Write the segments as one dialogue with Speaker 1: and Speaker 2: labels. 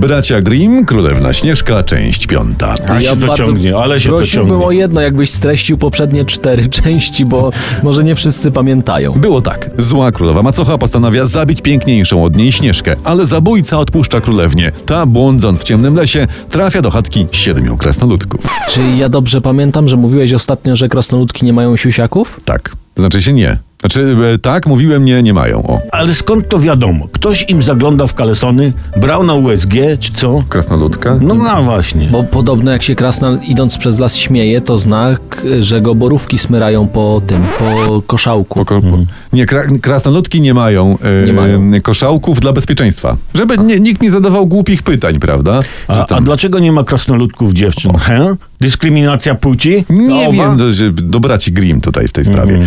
Speaker 1: Bracia Grimm, Królewna Śnieżka, część piąta.
Speaker 2: A się
Speaker 3: bardzo
Speaker 2: dociągnie, ale się
Speaker 3: prosiłbym
Speaker 2: dociągnie.
Speaker 3: o jedno, jakbyś streścił poprzednie cztery części, bo może nie wszyscy pamiętają.
Speaker 1: Było tak. Zła królowa macocha postanawia zabić piękniejszą od niej Śnieżkę, ale zabójca odpuszcza królewnię. Ta, błądząc w ciemnym lesie, trafia do chatki siedmiu krasnoludków.
Speaker 3: Czy ja dobrze pamiętam, że mówiłeś ostatnio, że krasnoludki nie mają siusiaków?
Speaker 1: Tak. Znaczy się nie. Znaczy, e, tak, mówiłem nie, nie mają. O.
Speaker 2: Ale skąd to wiadomo? Ktoś im zaglądał w kalesony, brał na USG, czy co?
Speaker 1: Krasnoludka?
Speaker 2: No, no właśnie.
Speaker 3: Mm. Bo podobno jak się krasnal idąc przez las śmieje, to znak, że go borówki smyrają po tym, po koszałku.
Speaker 1: Po, ko- po, nie, kra, krasnoludki nie mają, e,
Speaker 3: Nie mają.
Speaker 1: koszałków dla bezpieczeństwa. Żeby nie, nikt nie zadawał głupich pytań, prawda? Że
Speaker 2: A,
Speaker 1: tam-
Speaker 2: a dlaczego nie ma krasnoludków dziewczyn? He? Dyskryminacja płci? No,
Speaker 1: Nie
Speaker 2: Owa?
Speaker 1: wiem, do, że- do braci Grimm tutaj w tej sprawie.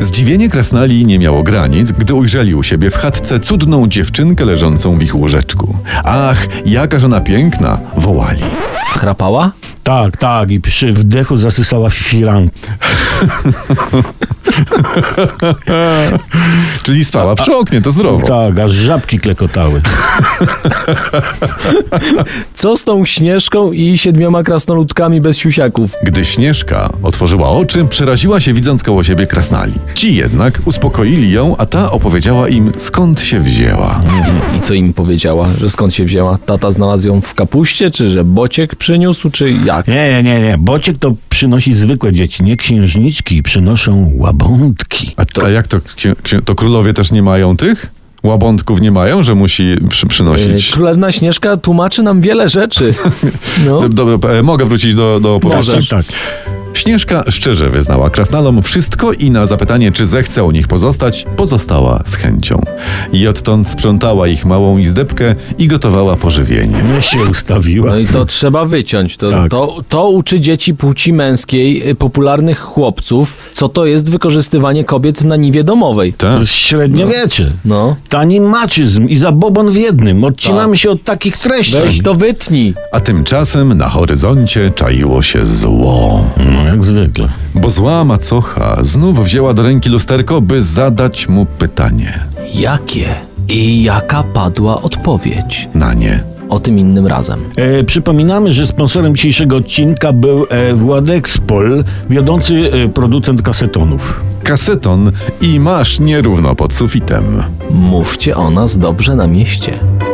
Speaker 1: Zdziwienie krasnali nie miało granic, gdy ujrzeli u siebie w chatce cudną dziewczynkę leżącą w ich łóżeczku. Ach, jakaż ona piękna, wołali.
Speaker 3: Chrapała?
Speaker 2: Tak, tak. I przy wdechu zasysała firanki.
Speaker 1: Czyli spała przy oknie, to zdrowo.
Speaker 2: Tak, aż żabki klekotały.
Speaker 3: Co z tą śnieżką i siedmioma krasnoludkami bez siusiaków?
Speaker 1: Gdy Śnieżka otworzyła oczy, przeraziła się widząc koło siebie krasnali. Ci jednak uspokoili ją, a ta opowiedziała im skąd się wzięła.
Speaker 3: I co im powiedziała? Że skąd się wzięła? Tata znalazł ją w kapuście, czy że bociek przyniósł, czy jak?
Speaker 2: Nie, nie, nie, nie. Bociek to przynosi zwykłe dzieci, nie księżniczki. Przynoszą łabądki.
Speaker 1: A, to, a jak to, księ- księ- to królowie też nie mają tych? Łabądków nie mają, że musi przy, przynosić.
Speaker 3: E, Królewna Śnieżka tłumaczy nam wiele rzeczy. No.
Speaker 1: Dob- Dobra, e, mogę wrócić do, do opowieści.
Speaker 2: Tak, tak.
Speaker 1: Śnieżka szczerze wyznała krasnalom wszystko i na zapytanie, czy zechce u nich pozostać, pozostała z chęcią. I odtąd sprzątała ich małą izdebkę i gotowała pożywienie.
Speaker 2: Nie się ustawiła.
Speaker 3: No i to trzeba wyciąć. To,
Speaker 2: Tak.
Speaker 3: to, to uczy dzieci płci męskiej, y, popularnych chłopców, co to jest wykorzystywanie kobiet na niwie domowej.
Speaker 2: To
Speaker 1: Tak?
Speaker 2: jest średniowiecze.
Speaker 3: No. Tak.
Speaker 2: Tani maczyzm i zabobon w jednym. Odcinamy się od takich treści.
Speaker 3: Weź to wytnij.
Speaker 1: A tymczasem na horyzoncie czaiło się zło.
Speaker 2: No, jak zwykle.
Speaker 1: Bo zła macocha znów wzięła do ręki lusterko, by zadać mu pytanie.
Speaker 3: Jakie i jaka padła odpowiedź?
Speaker 1: Na nie.
Speaker 3: O tym innym razem.
Speaker 2: E, przypominamy, że sponsorem dzisiejszego odcinka był e, Władek Spol, wiodący e, producent kasetonów.
Speaker 1: Kaseton i masz nierówno pod sufitem.
Speaker 3: Mówcie o nas dobrze na mieście.